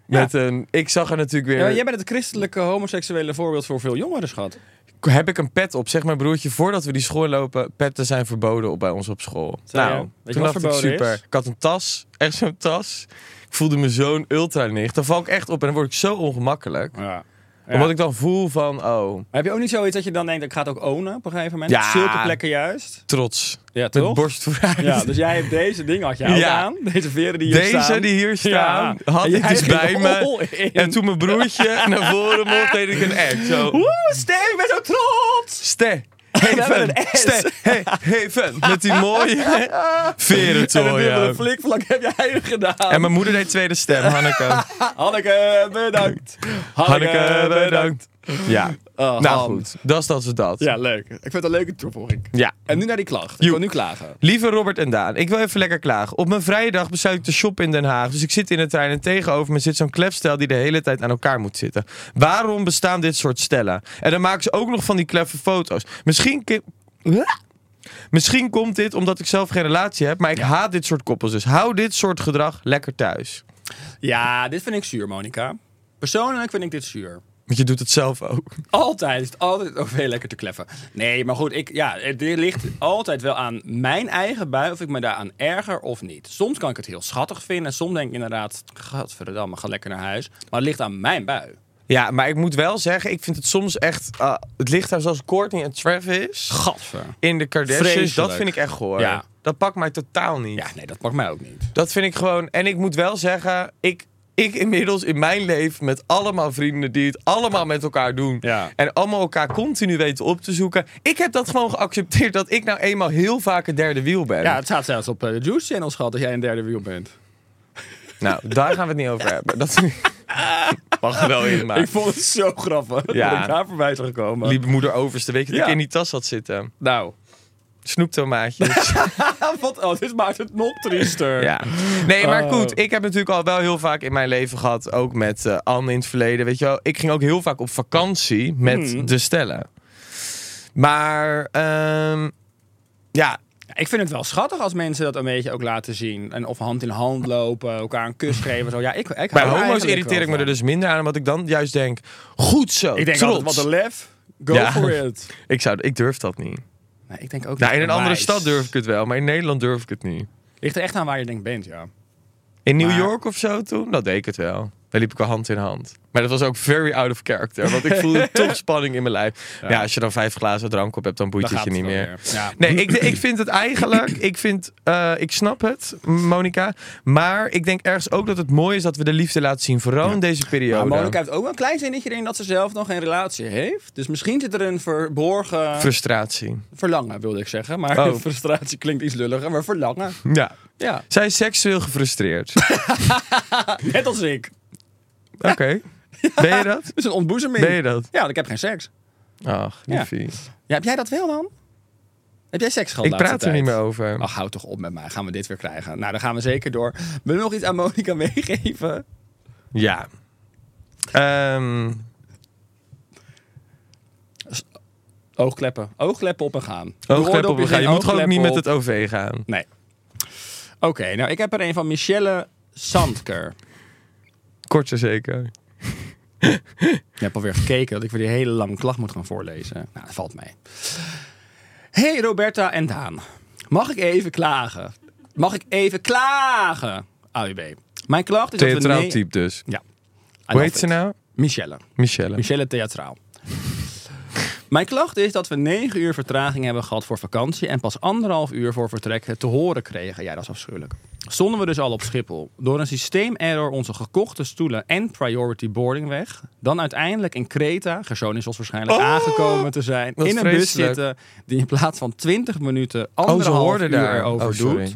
C: Met een, ik zag er natuurlijk weer...
B: Ja, jij bent het christelijke homoseksuele voorbeeld voor veel jongeren, schat.
C: heb ik een pet op. Zeg mijn broertje, voordat we die school lopen, petten zijn verboden op, bij ons op school.
B: Zei je?
C: nou,
B: Weet je
C: toen
B: wat
C: dacht ik
B: verboden
C: super.
B: is?
C: Ik had een tas, echt zo'n tas. Ik voelde me zo'n ultra nicht. Dan val ik echt op en dan word ik zo ongemakkelijk.
B: Ja.
C: Omdat ik dan voel van, oh,
B: Maar heb je ook niet zoiets dat je dan denkt, ik ga het ook ownen op een gegeven moment?
C: Ja.
B: Op zulke plekken juist.
C: trots.
B: Ja,
C: Met
B: toch?
C: borst vooruit.
B: Ja, dus jij hebt deze ding had je ook
C: Ja.
B: aan. Deze veren die hier
C: Deze
B: staan.
C: die hier staan,
B: Ja.
C: had
B: En
C: ik
B: jij
C: dus
B: ging
C: bij
B: all
C: me.
B: in.
C: En toen mijn broertje naar voren mocht, deed ik een act. Zo,
B: Oeh, Stef, ik ben zo trots!
C: ste,
B: hebben
C: heven,
B: een S.
C: ste, he, heven. Met die mooie
B: en een dubbele
C: verentooien.
B: flikvlak heb jij gedaan.
C: En mijn moeder deed tweede stem, Hanneke.
B: Hanneke, bedankt.
C: Hanneke, bedankt. Ja.
B: Oh,
C: nou
B: Han.
C: goed, dat is dat ze dat.
B: Ja, leuk. Ik vind het een leuke toevoeging.
C: Ja.
B: En nu naar die klacht. Ik
C: Joep.
B: wil nu klagen.
C: Lieve Robert en Daan, ik wil even lekker klagen. Op mijn vrije dag besluit ik te shoppen in Den Haag. Dus ik zit in de trein en tegenover me zit zo'n klefstel die de hele tijd aan elkaar moet zitten. Waarom bestaan dit soort stellen? En dan maken ze ook nog van die kleffe foto's. Misschien... ki- Misschien komt dit omdat ik zelf geen relatie heb, maar ik haat dit soort koppels. Dus hou dit soort gedrag lekker thuis.
B: Ja, dit vind ik zuur, Monica. Persoonlijk vind ik dit zuur.
C: Want je doet het zelf ook.
B: Altijd is het altijd ook heel lekker te kleffen. Nee, maar goed, ik, ja, het ligt altijd wel aan mijn eigen bui of ik me daaraan erger of niet. Soms kan ik het heel schattig vinden en soms denk ik inderdaad, gadverdamme, ga lekker naar huis. Maar het ligt aan mijn bui.
C: Ja, maar ik moet wel zeggen, ik vind het soms echt... eh, ah, het ligt daar zoals Courtney en Travis
B: Gadver.
C: in de Kardashians. Dat
B: Vreselijk.
C: vind ik echt goor.
B: Ja.
C: Dat pakt mij totaal niet.
B: Ja, nee, dat pakt mij ook niet.
C: Dat vind ik gewoon. En ik moet wel zeggen, ik, ik inmiddels in mijn leven met allemaal vrienden die het allemaal met elkaar doen.
B: Ja.
C: En allemaal elkaar continu weten op te zoeken. Ik heb dat gewoon geaccepteerd dat ik nou eenmaal heel vaak het derde wiel ben.
B: Ja, het staat zelfs op eh, de Juice Channel, schat, dat jij een derde wiel bent.
C: Nou, daar gaan we het niet over hebben. Dat mag er wel in, maar.
B: Ik vond het zo grappig
C: Ja.
B: dat ik daar voorbij zou gekomen.
C: Lieve moeder overste, weet je dat
B: Ja.
C: ik in die tas had zitten?
B: Nou,
C: Snoeptomaatjes.
B: wat, oh, dit maakt het nog triester.
C: Ja. Nee, maar
B: Oh.
C: goed. Ik heb natuurlijk al wel heel vaak in mijn leven gehad. Ook met eh, Anne in het verleden. Weet je wel. Ik ging ook heel vaak op vakantie met
B: Hmm.
C: de stellen. Maar ehm, ja,
B: Ik vind het wel schattig als mensen dat een beetje ook laten zien. En of hand in hand lopen, elkaar een kus geven. Zo. Ja, ik, ik
C: bij
B: hou
C: homo's
B: eigenlijk
C: irriteer
B: wel
C: ik me er
B: van.
C: dus minder aan. Omdat ik dan juist denk, goed zo,
B: Ik denk
C: trots.
B: altijd, wat een lef. Go
C: Ja.
B: for it.
C: ik, zou, ik durf dat niet.
B: Nee, ik denk ook
C: Nou, in
B: niet
C: een andere
B: wijs.
C: stad durf ik het wel. Maar in Nederland durf ik het niet.
B: Ligt er echt aan waar je denk bent, ja.
C: In New
B: Maar-
C: York of zo toen, dat deed ik het wel. Daar liep ik al hand in hand. Maar dat was ook very out of character. Want ik voelde toch spanning in mijn lijf. Ja. als je dan vijf glazen drank op hebt, dan boeit
B: Dan
C: het je
B: gaat
C: niet
B: het wel
C: meer.
B: weer. Ja.
C: Nee, ik, ik vind het eigenlijk... Ik, vind, eh, ik snap het, Monica. Maar ik denk ergens ook dat het mooi is dat we de liefde laten zien. Vooral in deze periode.
B: Maar Monica heeft ook wel een klein zinnetje erin dat ze zelf nog geen relatie heeft. Dus misschien zit er een verborgen
C: Frustratie.
B: verlangen, wilde ik zeggen. Maar
C: Oh.
B: frustratie klinkt iets lulliger, maar verlangen.
C: Ja.
B: Ja,
C: Zij is seksueel gefrustreerd.
B: net als ik.
C: Oké. Ben je dat?
B: Dus een ontboezeming.
C: Ben je dat?
B: Ja, want ik heb geen seks.
C: Ach,
B: Ja.
C: liefie.
B: Ja, heb jij dat wel dan? Heb jij seks gehad
C: Ik
B: de laatste
C: praat er niet
B: tijd?
C: meer over.
B: Ach, hou toch op met mij. Gaan we dit weer krijgen? Nou, dan gaan we zeker door. Wil je nog iets aan Monica meegeven?
C: Ja. Ehm
B: Oogkleppen. Oogkleppen op en gaan.
C: Oogklep op
B: Oordopjes
C: elkaar.
B: in,
C: Je moet gewoon ook niet met
B: oogklep
C: het OV gaan.
B: op. Nee. Oké, nou ik heb er een van Michelle Sandker.
C: Korter zeker.
B: Je hebt alweer gekeken dat ik weer die hele lange klacht moet gaan voorlezen. Nou, dat valt mee. Hey Roberta en Daan. Mag ik even klagen? Mag ik even klagen? AUB. Mijn klacht is dat we...
C: Theatraal
B: nee-
C: type dus.
B: Ja. I
C: Hoe
B: love
C: heet ze
B: it.
C: nou?
B: Michelle.
C: Michelle.
B: Michelle Theatraal. Mijn klacht is dat we negen uur vertraging hebben gehad voor vakantie en pas anderhalf uur voor vertrek te horen kregen. Ja, dat is afschuwelijk. Stonden we dus al op Schiphol. Door een systeemerror onze gekochte stoelen en priority boarding weg. Dan uiteindelijk in Creta, Gersonisos waarschijnlijk,
C: Oh,
B: aangekomen te zijn.
C: wat
B: In een bus
C: vreselijk.
B: zitten die in plaats van 20 minuten
C: Oh, ze
B: anderhalf
C: hoorden
B: uur
C: daar.
B: erover
C: Oh, sorry.
B: doet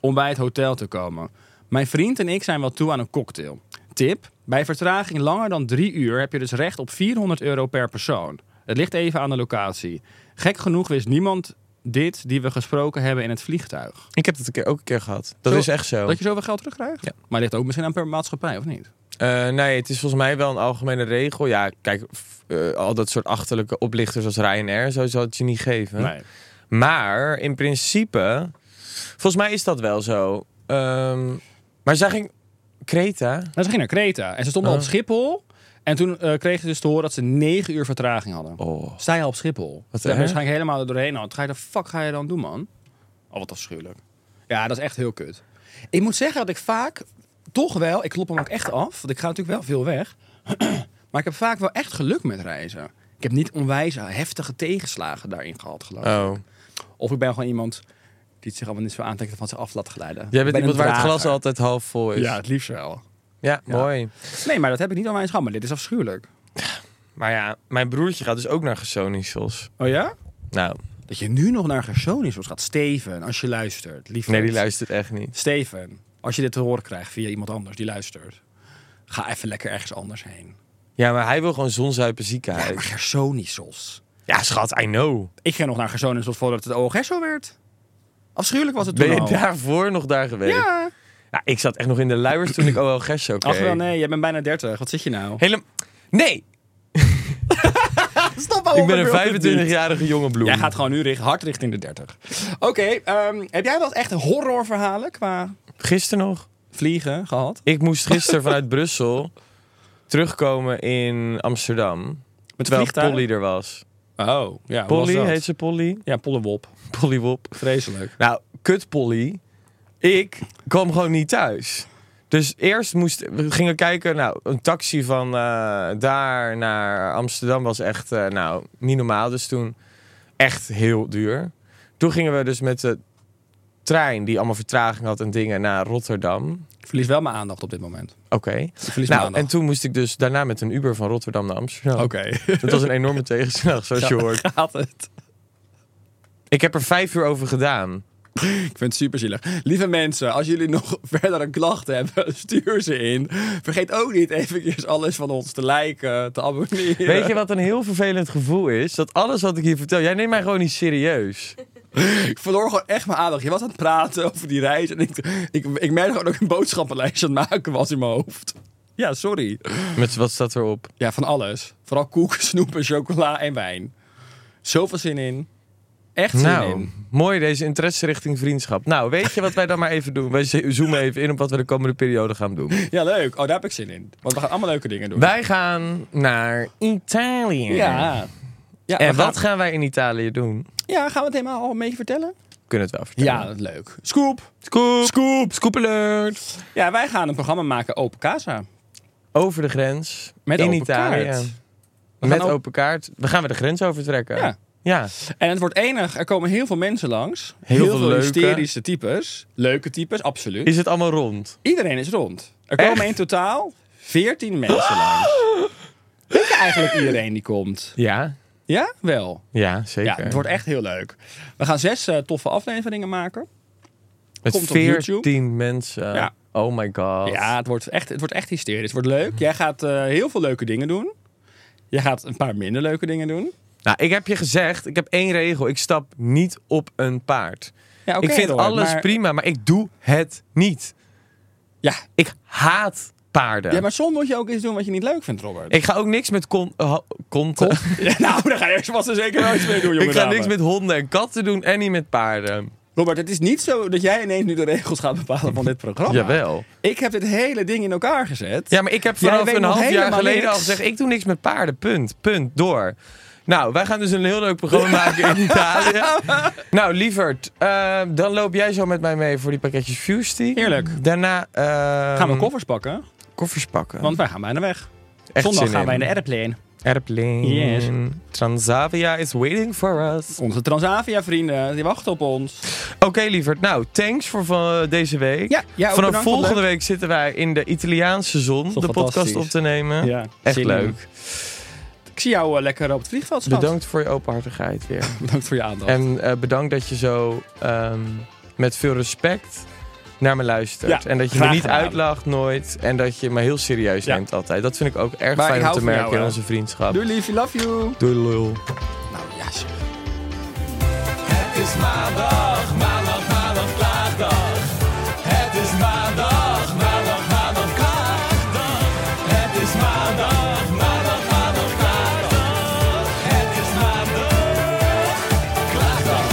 B: om bij het hotel te komen. Mijn vriend en ik zijn wel toe aan een cocktail. Tip: bij vertraging langer dan drie uur heb je dus recht op 400 euro per persoon. Het ligt even aan de locatie. Gek genoeg wist niemand dit die we gesproken hebben in het vliegtuig.
C: Ik heb dat een keer, ook een keer gehad. Dat
B: Zo-
C: is echt zo.
B: Dat je zoveel geld terugkrijgt?
C: Ja.
B: Maar ligt ook misschien aan per maatschappij, of niet?
C: Eh, nee, het is volgens mij wel een algemene regel. Ja, kijk, f- eh, al dat soort achterlijke oplichters als Ryanair, zo zou het je niet geven.
B: Nou,
C: Maar in principe, volgens mij is dat wel zo. Ehm, maar zij ging... Creta?
B: Nou, ze ging naar Creta en ze stonden al op Schiphol. En toen eh, kregen ze dus te horen dat ze negen uur vertraging hadden.
C: Oh.
B: Sta je al op Schiphol? Daar ben
C: Wat
B: je
C: erg.
B: waarschijnlijk helemaal er doorheen. al. Wat ga je de fuck ga je dan doen, man? Oh, wat afschuwelijk. Ja, dat is echt heel kut. Ik moet zeggen dat ik vaak toch wel... Ik klop hem ook echt af, want ik ga natuurlijk wel veel weg. maar ik heb vaak wel echt geluk met reizen. Ik heb niet onwijs heftige tegenslagen daarin gehad, geloof ik.
C: Oh.
B: Of ik ben gewoon iemand die het zich allemaal niet zo aantrekt en van zich af laat glijden. Ik
C: Jij bent
B: ben
C: iemand
B: een
C: waar het glas
B: drager.
C: altijd half vol is.
B: Ja, het liefst wel.
C: ja mooi.
B: Nee, maar dat heb ik niet onwijs gehad. Maar dit is afschuwelijk.
C: Maar ja, mijn broertje gaat dus ook naar Gersonisos.
B: Oh ja?
C: Nou,
B: Dat je nu nog naar Gersonisos gaat. Steven, als je luistert. Lief
C: nee, die luistert echt niet.
B: Steven, als je dit te horen krijgt via iemand anders die luistert, ga even lekker ergens anders heen.
C: Ja, maar hij wil gewoon zonzuipen ziekenhuis.
B: Gersonisos.
C: Ja, schat, I know.
B: Ik ging nog naar Gersonisos voordat het OGSO werd. Afschuwelijk was het toen
C: Ben je
B: al.
C: daarvoor nog daar geweest?
B: Ja.
C: Ja, ik zat echt nog in de luiers toen ik OL Gesho kreeg.
B: Ach wel, nee, jij bent bijna 30. Wat zit je nou?
C: Helemaal... Nee!
B: Stop Oh, maar
C: Ik ben een 25-jarige jonge bloem.
B: Jij gaat gewoon nu richt, hard richting de 30. Oké, ehm, heb jij wel echt horrorverhalen qua
C: Gisteren nog.
B: vliegen gehad?
C: Ik moest gisteren vanuit Brussel terugkomen in Amsterdam.
B: Met
C: Terwijl
B: vliegtuig?
C: Polly er was.
B: Oh, ja. hoe was
C: Polly,
B: dat?
C: heet ze Polly?
B: Ja, Pollewop.
C: Polly Wop.
B: Vreselijk.
C: Nou, kut Polly. Ik kwam gewoon niet thuis. Dus eerst moest, we gingen kijken, nou, een taxi van eh, daar naar Amsterdam was echt, eh, nou, niet normaal. Dus toen echt heel duur. Toen gingen we dus met de trein die allemaal vertraging had en dingen naar Rotterdam.
B: Ik verlies wel mijn aandacht op dit moment.
C: Oké.
B: verlies mijn
C: Nou,
B: aandacht.
C: en toen moest ik dus daarna met een Uber van Rotterdam naar Amsterdam. Oh. Dat was een enorme tegenslag, zoals je hoort.
B: Gaat het.
C: Ik heb er vijf uur over gedaan.
B: Ik vind het super zielig. Lieve mensen, als jullie nog verdere klachten hebben, stuur ze in. Vergeet ook niet eventjes alles van ons te liken, te abonneren.
C: Weet je wat een heel vervelend gevoel is? Dat alles wat ik hier vertel, jij neemt mij gewoon niet serieus.
B: Ik verloor gewoon echt mijn aandacht. Je was aan het praten over die reis. En ik, ik, ik merkte gewoon dat ik een boodschappenlijst aan het maken was in mijn hoofd. Ja, sorry.
C: Met wat staat erop?
B: Ja, van alles. Vooral koek, snoep en chocola en wijn. Zoveel zin in. Echt zin
C: Nou,
B: in.
C: mooi deze interesse richting vriendschap. Nou, weet je wat wij dan maar even doen? Wij ze- zoomen even in op wat we de komende periode gaan doen.
B: Ja, leuk. Oh, daar heb ik zin in. Want we gaan allemaal leuke dingen doen.
C: Wij gaan naar Italië.
B: Ja. ja
C: En
B: we gaan-
C: wat gaan wij in Italië doen?
B: Ja, gaan we het helemaal al een beetje vertellen?
C: Kunnen het wel vertellen.
B: Ja, dat is leuk. Scoop.
C: Scoop. Scoop. Scoop alert.
B: Ja, wij gaan een programma maken, Open Casa.
C: Over de grens.
B: Met
C: in
B: open
C: Italië.
B: kaart. We
C: Met
B: gaan ook-
C: open kaart. We gaan weer de grens overtrekken.
B: Ja.
C: Ja.
B: En het wordt enig. Er komen heel veel mensen langs.
C: Heel veel leuke.
B: hysterische types. Leuke types, absoluut.
C: Is het allemaal rond?
B: Iedereen is rond. Er
C: Echt?
B: komen in totaal 14 mensen langs. Weet je eigenlijk iedereen die komt?
C: Ja.
B: Ja? Wel.
C: Ja,
B: Ja,
C: zeker.
B: het wordt echt heel leuk. We gaan zes eh, toffe afleveringen maken.
C: Met
B: komt op
C: 14 mensen.
B: Ja.
C: Oh my god.
B: Ja, het wordt, echt, het wordt echt hysterisch. Het wordt leuk. Jij gaat eh, heel veel leuke dingen doen. Jij gaat een paar minder leuke dingen doen.
C: Nou, ik heb je gezegd, ik heb één regel. Ik stap niet op een paard.
B: Ja, oké,
C: ik vind
B: Roy,
C: alles
B: maar-
C: prima, maar ik doe het niet.
B: Ja.
C: Ik haat paarden.
B: ja, maar soms moet je ook iets doen wat je niet leuk vindt, Robert.
C: Ik ga ook niks met kon, eh, ho- konten.
B: Ja, nou, daar ga je vast en zeker nooit mee doen, jongen.
C: ik ga niks met honden en katten doen en niet met paarden.
B: Robert, het is niet zo dat jij ineens nu de regels gaat bepalen van dit programma.
C: Jawel.
B: Ik heb dit hele ding in elkaar gezet.
C: Ja, maar ik heb
B: Jij
C: vanaf
B: weet
C: een
B: nog
C: half jaar
B: helemaal
C: geleden
B: niks.
C: al gezegd... ik doe niks met paarden, punt, punt, door. Nou, wij gaan dus een heel leuk programma maken in Italië. Nou, lieverd, eh, dan loop jij zo met mij mee voor die pakketjes Fusty.
B: Heerlijk.
C: Daarna... eh,
B: Gaan we koffers pakken?
C: koffers pakken.
B: Want wij gaan bijna weg.
C: Echt
B: Zondag
C: zin
B: gaan wij
C: in.
B: in de airplane.
C: Airplane.
B: Yes.
C: Transavia is waiting for us.
B: Onze Transavia-vrienden, die wachten op ons.
C: Oké, lieverd. Nou, thanks voor van, eh, deze week.
B: Ja, jij ook
C: Vanaf
B: bedankt, vond
C: volgende
B: het
C: week zitten wij in de Italiaanse zon
B: Toch
C: de podcast
B: fantastisch.
C: op te nemen. Echt
B: zin in.
C: leuk.
B: Ik zie jou eh, lekker op het vliegveld, schat.
C: Bedankt voor je openhartigheid weer.
B: Bedankt voor je aandacht.
C: en eh, bedankt dat je zo ehm, met veel respect naar me luistert.
B: Ja,
C: en dat je me
B: graag
C: niet
B: gedaan.
C: uitlacht nooit. En dat je me heel serieus
B: Ja.
C: neemt altijd. Dat vind ik ook erg
B: Maar ik
C: fijn om
B: hou
C: te
B: van jou,
C: merken in
B: hè.
C: onze vriendschap.
B: Doei, lief. Love you.
C: Doei lul.
B: Nou, ja, zeg.
A: Het is maandag, maandag, maandag, klaagdag. Het is maandag, maandag, maandag, klaagdag. Het is maandag, maandag, maandag, klaagdag. Het is maandag, klaagdag.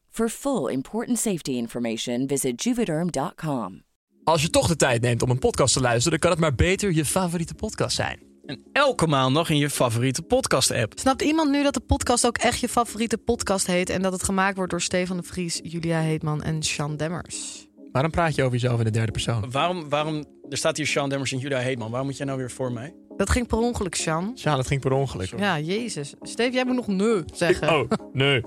E: For full important safety information, visit juvederm.com.
F: Als je toch de tijd neemt om een podcast te luisteren, kan het maar beter je favoriete podcast zijn. En elke maandag in je favoriete podcast-app.
G: Snapt iemand nu dat de podcast ook echt je favoriete podcast heet en dat het gemaakt wordt door Stefan de Vries, Julia Heetman en Sean Demmers?
F: Waarom praat je over jezelf in de derde persoon?
H: Waarom, waarom, er staat hier Sean Demmers en Julia Heetman. Waarom moet jij nou weer voor mij?
G: Dat ging per ongeluk, Sean.
F: Ja, dat ging per ongeluk.
H: Oh,
G: Ja, jezus. Steef, jij moet nog nee zeggen.
F: Oh, nee.